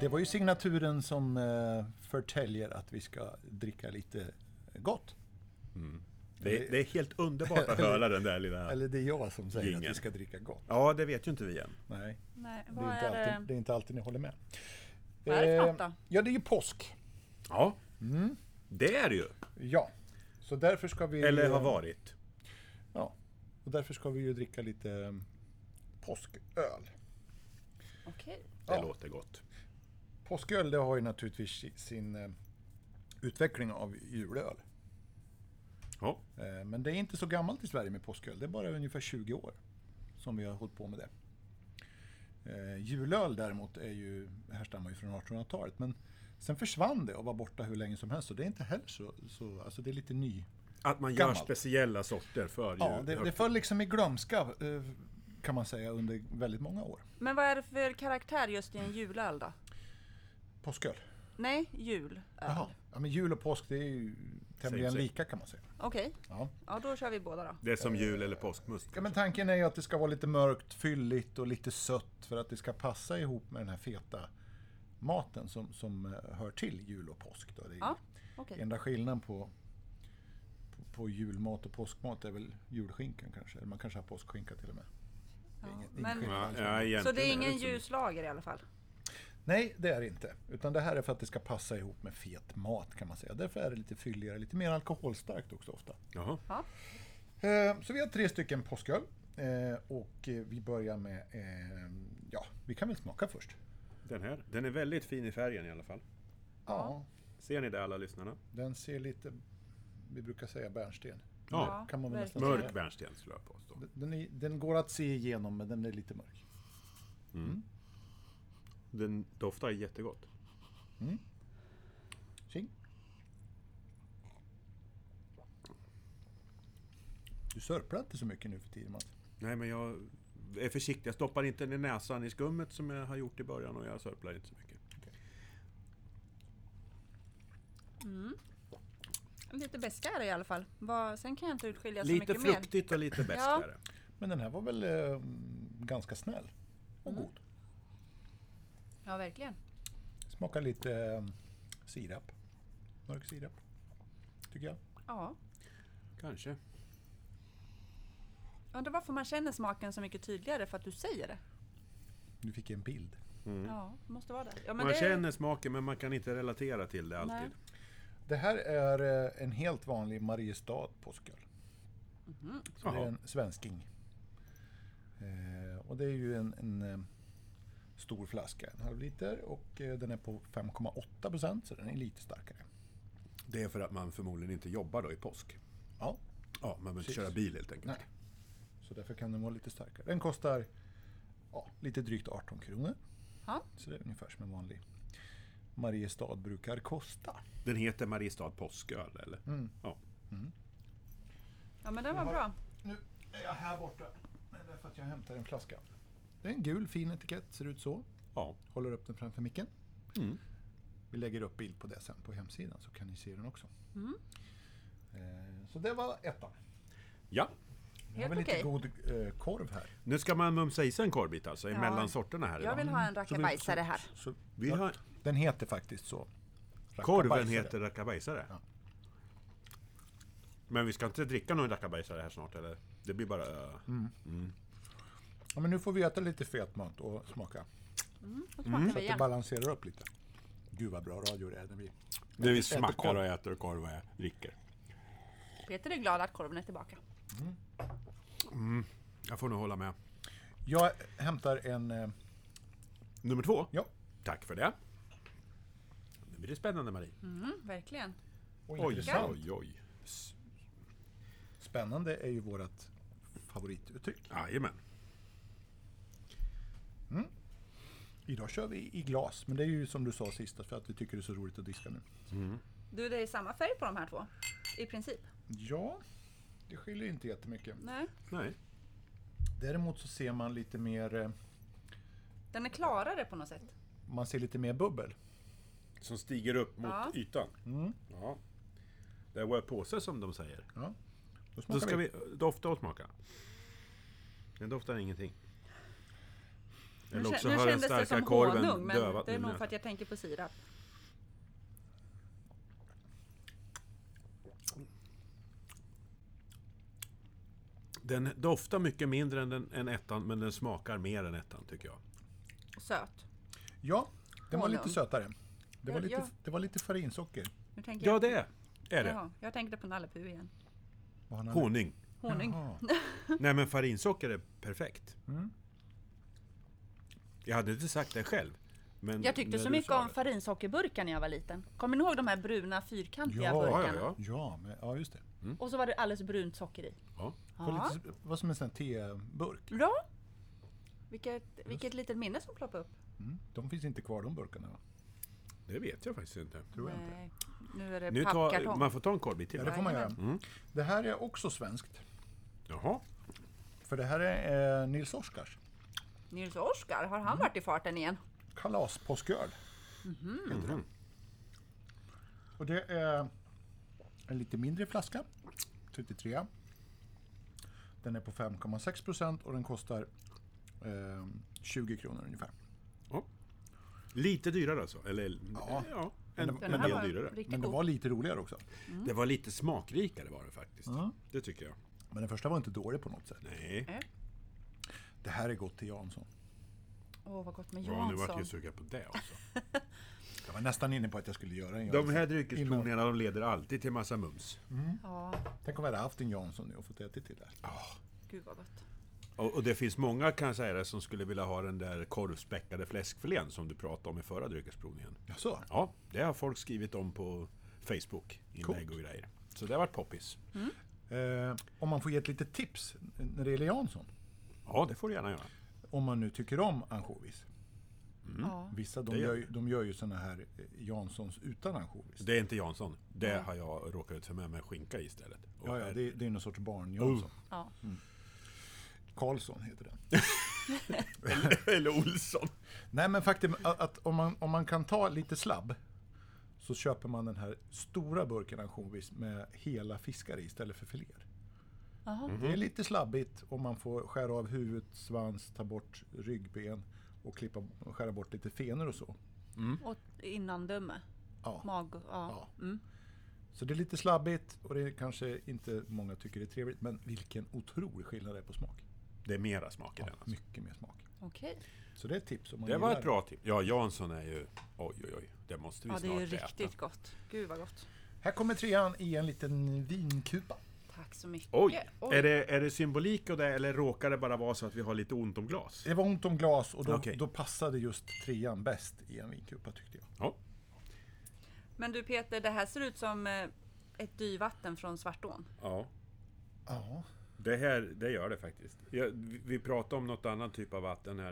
Det var ju signaturen som eh, förtäljer att vi ska dricka lite gott. Det, är- det är helt underbart att höra den där lilla... Eller det är jag som säger att Jingeln. vi ska dricka gott. Ja, det vet ju inte vi än. Nej, Nej, det är, vad inte är alltid, det det? är inte alltid ni håller med. Vad är det för något Eh, då? Ja, det är ju påsk. Ja, Mm. det är det ju. Ja. Så därför ska vi... Eller har varit. Ja. Och därför ska vi ju dricka lite eh, påsköl. Okej. Det Ja. låter gott. Påsköl det har ju naturligtvis si- sin eh, utveckling av julöl. Ja. Eh, men det är inte så gammalt i Sverige med påsköl. Det är bara ungefär 20 år som vi har hållit på med det. Eh, julöl däremot är ju, härstammar ju från 1800-talet. Men sen försvann det och var borta hur länge som helst. Så det är inte heller så, så alltså det är lite ny. Att man Gammalt. gör speciella sorter för Ja, jul. det, det föll liksom i glömska eh, kan man säga under väldigt många år. Men vad är det för karaktär just i en julöl då? Påsköl. Nej, julöl. Jaha. Ja, men jul och påsk det är ju tämligen same. lika kan man säga. Okej, Ja. ja då kör vi båda då. Det är som jul eller påskmust. Ja, men tanken är ju att det ska vara lite mörkt, fylligt och lite sött för att det ska passa ihop med den här feta maten som, som eh, hör till jul och påsk. Då. Det är Ja, okej. Enda skillnaden på, på, på julmat och påskmat är väl julskinkan kanske. Eller man kanske har påskskinka till och med. Det är Ja, ingen- ingen men- skillnad alls. egentligen liksom- Så det är ingen inte så- ljuslager i alla fall? Nej, det är det inte. Utan det här är för att det ska passa ihop med fet mat kan man säga. Därför är det lite fylligare, lite mer alkoholstarkt också ofta. Jaha. Ja. Eh, Så vi har tre stycken påsköl. Eh, Och eh, vi börjar med, eh, ja, vi kan väl smaka först. Den här. Den är väldigt fin i färgen i alla fall. Ja, Ser ni det alla lyssnarna? den ser lite, vi brukar säga bärnsten. Ja. kan man väl verkligen. nästan Mörk bärnsten skulle jag påstå. Den, är, den går att se igenom men den är lite mörk. Den doftar jättegott. Tjing. Du sörplar inte så mycket nu för tiden Mats. Nej, men jag är försiktig. Jag stoppar inte ner näsan i skummet som jag har gjort i början och jag sörplar inte så mycket. Lite beskare i alla fall. Vad- sen kan jag inte utskilja så Lite mycket mer. fruktigt och lite beskare. Men den här var väl eh, ganska snäll och god. Ja, verkligen. Smakar lite eh, sirap. Mörk sirap. Tycker jag. Ja. Kanske. Undrar varför man känner smaken så mycket tydligare för att du säger det. Du fick en bild. Ja, det måste vara det. Ja, men Man det känner smaken men man kan inte relatera till det alltid. Nej. Det här är eh, en helt vanlig Mariestad påsköl. Mhm. Så det Jaha. är en svensking. Eh, och det är ju en, en eh, stor flaska, en halv liter och eh, den är på 5,8 procent så den är lite starkare. Det är för att man förmodligen inte jobbar då i påsk. Ja, Ja, man behöver inte Precis. köra bil helt enkelt. nej. Så därför kan den vara lite starkare. Den kostar ja, lite drygt 18 kronor. Ja. Så det är ungefär som en vanlig Mariestad brukar kosta. Den heter Mariestad påsköl, eller? Ja. ja, men den var bra. Nu är jag här borta. Men det är för att jag hämtar en flaska. Det är en gul fin etikett, ser ut så. ja. Håller upp den framför micken. Mm. Vi lägger upp bild på det sen på hemsidan så kan ni se den också. Mm. Eh, Så det var ettan. Ja. Vi har Helt väl okej. lite god eh, korv här. Nu ska man mumsa i sig en korvbit alltså, Ja. emellan sorterna här Jag idag. vill ha en rackabajsare här. Så, Vi har... den heter faktiskt så. Korven Rackabajsare. heter rackabajsare. Ja. Men vi ska inte dricka någon rackabajsare här snart, eller? Det blir bara... ö. Ja, men nu får vi äta lite fet mat och smaka. Mm. Då smakar Så vi att det igen. balanserar upp Mm. lite. Gud vad bra radio det är när vi När vi äter smackar korv. och äter korv och ä- dricker. Peter är glad att korven är tillbaka. Jag får nog hålla med. Jag hämtar en... eh, Nummer två. Ja, Tack för det. Nu blir det spännande, Marie. Mm, verkligen. och Oj, intressant. oj, oj. Spännande är ju vårt favorituttryck. Jajamän. Idag kör vi i glas, men det är ju som du sa sist för att vi tycker det är så roligt att diska nu. Du, det är samma färg på de här två. I princip. Ja, det skiljer inte jättemycket. Nej. Nej. Däremot så ser man lite mer, eh, Den är klarare på något sätt. man ser lite mer bubbel. Som stiger upp mot Ja. ytan. Ja. Det är vår påse som de säger. Ja. Då Då smakar ska vi. vi dofta och smaka. Den doftar ingenting. Nu, Eller kä- också nu har den kändes det starka som korven honung, men dövat det är min nog näsa. för att jag tänker på sirap. Den doftar mycket mindre än, den, än ettan, men den smakar mer än ettan tycker jag. Söt. Ja, den var lite Honung. sötare. Det var Ja, lite, ja. det var lite farinsocker. Nu tänker Ja, jag, det är det. Jaha, jag tänkte på Nalle Puh igen. Vad han hade- Honung. Honung. Jaha. Nej, men farinsocker är perfekt. Jag hade inte sagt det själv. Men Jag tyckte när så du mycket sa om det. farinsockerburkar när jag var liten. Kommer ni ihåg de här bruna fyrkantiga Ja, ja, Ja, Mm. burkarna? ja, ja. Ja, men, ja, just det. Och så var det alldeles brunt socker i. ja. Det var lite, det var som en sån här teburk. Bra! Vilket, vilket litet minne som ploppade upp. Mm. De finns inte kvar de burkarna va? Det vet jag faktiskt inte. Tror jag inte. Nej, Eh, nu är det Nu tar, pappkartong. man får ta en korvbit till. Ja, va? det får man göra. Jajamän. Det här är också svenskt. Jaha. För det här är eh, Nils Oskars Nils Oskar, har han varit i farten igen? kalaspåsköl. Heter Mm. det. Och det är en lite mindre flaska, 33. Den är på 5,6 procent och den kostar eh, 20 kronor ungefär. Ja. Lite dyrare alltså? Eller ja, en, Men det- en men det här del var dyrare. Riktigt Men det god. var lite roligare också. Det var lite smakrikare var det faktiskt. Det tycker jag. Men den första var inte dålig på något sätt. Nej. Eh, Det här är gott till Jansson. Åh, vad gott med Ja, nu vart jag ju Jansson. sugen på det också. Jag var nästan inne på att jag skulle göra en De Jansson. här dryckesprovningarna de leder alltid till massa mums. Ja, Tänk om jag hade haft en Jansson nu och fått äta till det. här. gud vad gott. Och, och det finns många kan jag säga det, som skulle vilja ha den där korvspäckade fläskfilén som du pratade om i förra dryckesprovningen. Jaså? Ja, det har folk skrivit om på Facebook, inlägg och Coolt. grejer. Så det har varit poppis. Eh, om man får ge ett litet tips när det gäller Jansson. Ja, det får du gärna göra. Om man nu tycker om ansjovis. Mm. Ja. Vissa de Det gör gör, ju, de gör ju såna här eh, Janssons utan ansjovis. Det är inte Jansson. Det har jag råkat ut för med, med skinka i istället. Och ja, ja, det, är- det är någon sorts Oh. barn-Jansson. Ja. Karlsson heter den. Eller Olsson. Nej men faktum att, att om, man, om man kan ta lite slabb så köper man den här stora burken ansjovis med hela fiskar i istället för filéer. Jaha. Mhm. Det är lite slabbigt och man får skära av huvud, svans, ta bort ryggben och klippa, skära bort lite fenor och så. Mm. Och innandöme. Ja. Mag... Ja. Ja. Så det är lite slabbigt och det är kanske inte många tycker det är trevligt, men vilken otrolig skillnad det är på smak. Det är mera smak i Ja, den. Alltså. mycket mer smak. Okej. Så det är ett tips om man Det var gillar ett bra tips. Ja, Jansson är ju... Oj, oj, oj. Det måste vi Ja, det är snart ju äta. riktigt gott. Gud vad gott. Här kommer trean i en liten vinkupa. Tack så mycket. Oj! Oj. Är, det, är det symbolik och det, eller råkar det bara vara så att vi har lite ont om glas? Det var ont om glas och då, Okej. då passade just trean bäst i en vinkupa tyckte jag. Ja. Men du Peter, det här ser ut som eh, ett dyvatten från Svartån. ja. Ja, Det här, det gör det faktiskt. Jag, vi vi pratade om något annan typ av vatten här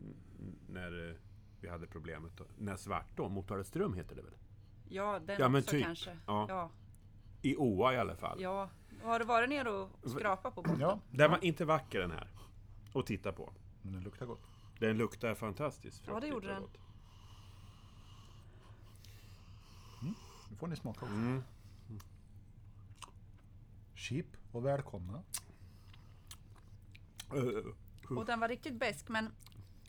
n- när eh, vi hade problemet. då. När Svartån, Motalaström heter det väl? Ja, den Ja, men också typ. kanske. Ja. Ja. I Oa i alla fall. ja. Har du varit ner och skrapat på botten? ja Den var inte vacker den här. Att titta på. men den luktar gott. Den luktar fantastiskt. Ja, det gjorde fruktigt och den. gott. Nu får ni smaka också. Chip och välkomna. Eh, Och den var riktigt besk men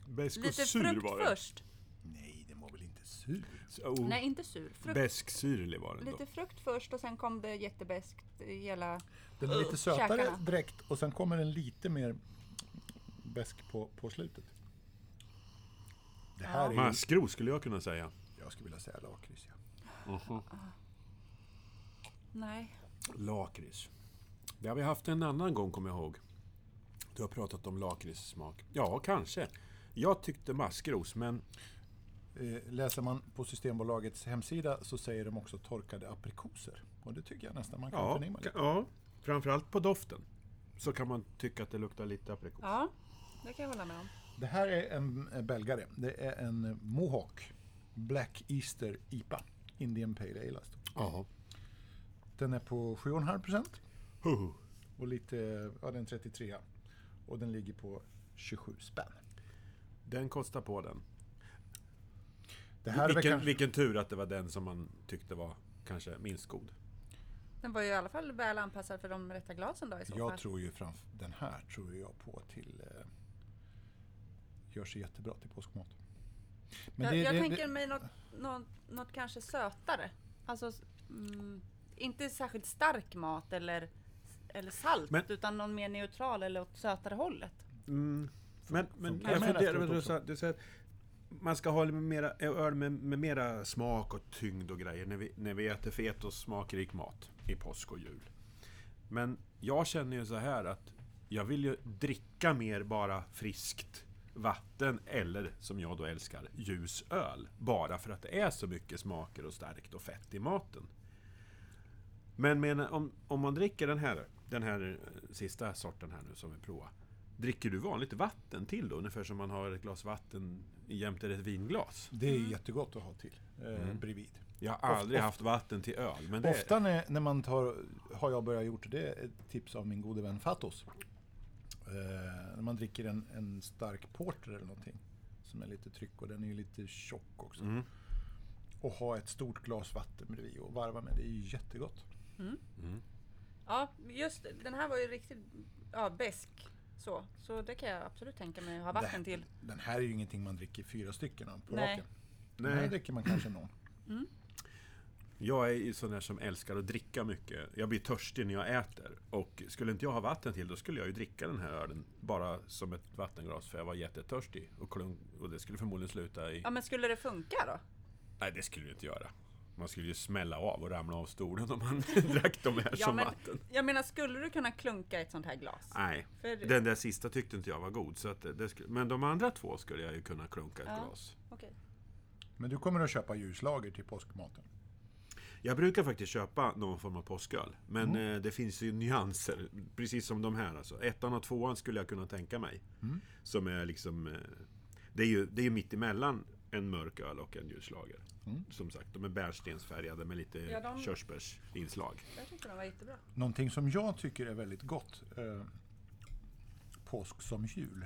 Besk och lite sur frukt var den. först. Nej, den var väl inte sur? Oh, Nej, inte sur. Frukt. Bäsksyrlig var den Lite då. frukt först och sen kom det jättebeskt i hela... Den är lite sötare käkarna. direkt och sen kommer den lite mer besk på, på slutet. Det här är ju, Maskros skulle jag kunna säga. jag skulle vilja säga lakrits. Ja. Nej. Lakrits. Det har vi haft en annan gång, kommer jag ihåg. Du har pratat om lakritssmak. Ja, kanske. Jag tyckte maskros, men Eh, Läser man på Systembolagets hemsida så säger de också torkade aprikoser. Och det tycker jag nästan man kan ja, förnimma. ka- Lite. ja, framförallt på doften så kan man tycka att det luktar lite aprikos. Ja, det kan jag hålla med om. Det här är en eh, belgare. Det är en eh, Mohawk Black Easter IPA. Indian Pale Ale. alltså. Ja. Den är på 7,5 procent Huh. och lite, ja den är 33 Och den ligger på 27 spänn. Den kostar på den. Det här är väl Vilken, kanske- vilken tur att det var den som man tyckte var kanske minst god. Den var ju i alla fall väl anpassad för de rätta glasen då i så Jag fall. tror ju framför den här tror jag på till eh, gör sig jättebra till påskmat. Men Jag, det- jag det- tänker det- mig något, något, något kanske sötare. Alltså, s- mm, inte särskilt stark mat eller, eller salt, Men- utan någon mer neutral eller åt sötare hållet. Mm. Men, men funkar. jag Jag menar funderar, efteråt men du, också. sa, du sa att man ska ha lite mera, öl med, med mera smak och tyngd och grejer när vi, när vi äter fet och smakrik mat i påsk och jul. Men jag känner ju så här att jag vill ju dricka mer bara friskt vatten eller, som jag då älskar, ljus öl. Bara för att det är så mycket smaker och starkt och fett i maten. Men menar, om, om man dricker den här, den här eh, sista sorten här nu som vi provar. Dricker du vanligt vatten till då? Ungefär som man har ett glas vatten jämte ett vinglas. Det Mm. är jättegott att ha till eh, bredvid. Jag har aldrig haft vatten till öl. Men Mm. det, Ofta när, när man tar, har jag börjat gjort det, är ett tips av min gode vän Fatos. Eh, när man dricker en, en stark porter eller någonting, som är lite tryck och den är ju lite tjock också. Mm. Och ha ett stort glas vatten bredvid och varva med, det är ju jättegott. Ja, just den här var ju riktigt ja, besk. Så, så det kan jag absolut tänka mig att ha vatten Det- till. Den här är ju ingenting man dricker fyra stycken av på Nej. raken. Den här Nej, dricker man kanske någon. jag är ju sån där som älskar att dricka mycket. Jag blir törstig när jag äter. Och skulle inte jag ha vatten till, då skulle jag ju dricka den här ölen. Bara som ett vattenglas, för jag var jättetörstig. Och, klunk, och det skulle förmodligen sluta i... Ja, men skulle det funka då? Nej, det skulle du inte göra. Man skulle ju smälla av och ramla av stolen om man drack de här Ja, som men, vatten. Ah. jag menar, skulle du kunna klunka i ett sånt här glas? Nej, För- den där sista tyckte inte jag var god. Så att det, det skulle, men de andra två skulle jag ju kunna klunka ett Ja. glas. Okej. Men du kommer att köpa ljuslager till påskmaten. Jag brukar faktiskt köpa någon form av påsköl. Men eh, det finns ju nyanser, precis som de här. Alltså. Ettan och tvåan skulle jag kunna tänka mig. Som är liksom... eh, Det är ju, det är ju mitt emellan en mörk öl och en ljuslager. Som sagt, de är bärstensfärgade med lite Ja, de- körsbärsinslag. Jag tyckte den var jättebra. Någonting som jag tycker är väldigt gott eh, påsk som jul.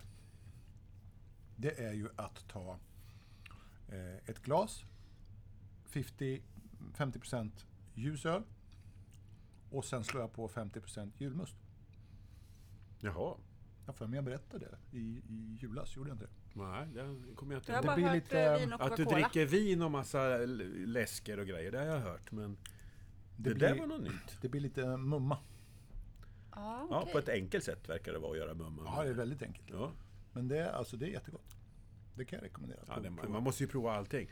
Det är ju att ta eh, ett glas 50, 50% ljus öl och sen slår jag på 50% julmust. Jaha. Jag får mig jag berättade det i, i julas, gjorde jag inte det? Nej, det kommer jag inte Jag har Det bara blir hört lite, eh, vin och Att du Coca-Cola. dricker vin och massa l- läsker och grejer, det har jag hört. Men det, blir, där var något nytt. det blir lite mumma. Ja, Ja, Ah, okej. på ett enkelt sätt verkar det vara att göra mumma. Ja, det är väldigt enkelt. ja. Men det, är- alltså, det är jättegott. Det kan jag rekommendera. Ja, Prov- det, prova. man måste ju prova allting.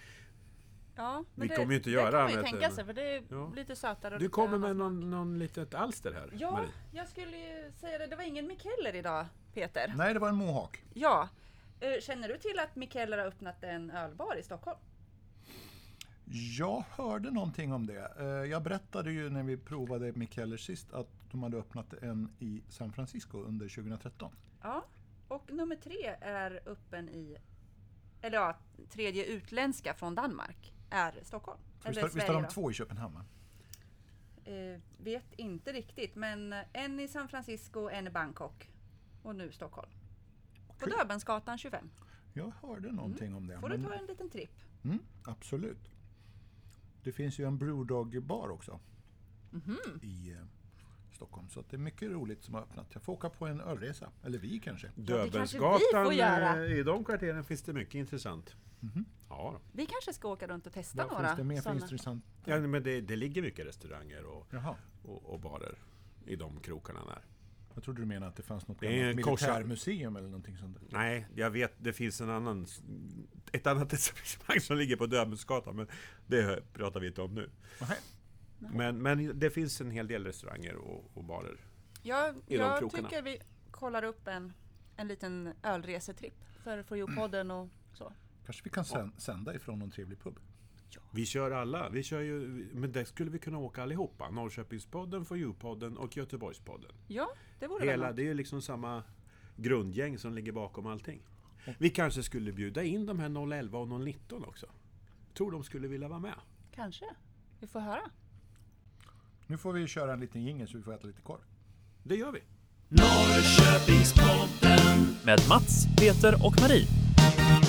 Ja, Vi kommer ju inte göra det. Det kan annat man ju tänka än- sig för det är Ja. lite sötare. och Du lite kommer annat. med någon, någon litet alster här, Ja, Marie. jag skulle ju säga det. Det var ingen Mikeller idag, Peter. Nej, det var en mohawk. Ja. Eh, Känner du till att Mikeller har öppnat en ölbar i Stockholm? Jag hörde någonting om det. Eh, Jag berättade ju när vi provade Mikeller sist att de hade öppnat en i San Francisco under 2013. Ja. Och nummer tre är öppen i... Eller ja, tredje utländska från Danmark är Stockholm. För Visst eller har- visst har de då. två i Köpenhamn? va? Eh, vet inte riktigt, men en i San Francisco, en i Bangkok och nu Stockholm. På Kul. Döbelnsgatan 25. Jag hörde någonting om det. Mm. Får du men- ta en liten tripp. mm, absolut. Det finns ju en Brewdog-bar också Mhm. i eh, Stockholm. Så att det är mycket roligt som har öppnat. Jag får åka på en ölresa. Eller vi kanske. det kanske vi får Döbelnsgatan, göra. eh, i de kvarteren finns det mycket intressant. Ja, då. Vi kanske ska åka runt och testa Vad några finns det mer för sådana. intressant? ja men det, det ligger mycket restauranger och, Jaha. och, och barer i de krokarna där. Jag trodde du menade att det fanns något Det är gammalt en korsa- militärmuseum eller någonting sånt. där. Nej, jag vet, det finns en annan, ett annat etablissemang som ligger på Döbelnsgatan, men det pratar vi inte om nu. Nej. Men, men det finns en hel del restauranger och, och barer. Jag, de jag krokarna. tycker vi kollar upp en, en liten ölresetripp för For Mm. You-podden och så. Kanske vi kan sän- sända ifrån någon trevlig pub? Vi kör alla, vi kör ju, men där skulle vi kunna åka allihopa. Norrköpingspodden, For You-podden och Göteborgspodden. Ja, det vore väl Hela, något. det är ju liksom samma grundgäng som ligger bakom allting. Vi kanske skulle bjuda in de här 011 och 019 också. Tror de skulle vilja vara med. Kanske. Vi får höra. Nu får vi köra en liten jingel så vi får äta lite korv. Det gör vi. Norrköpingspodden med Mats, Peter och Marie.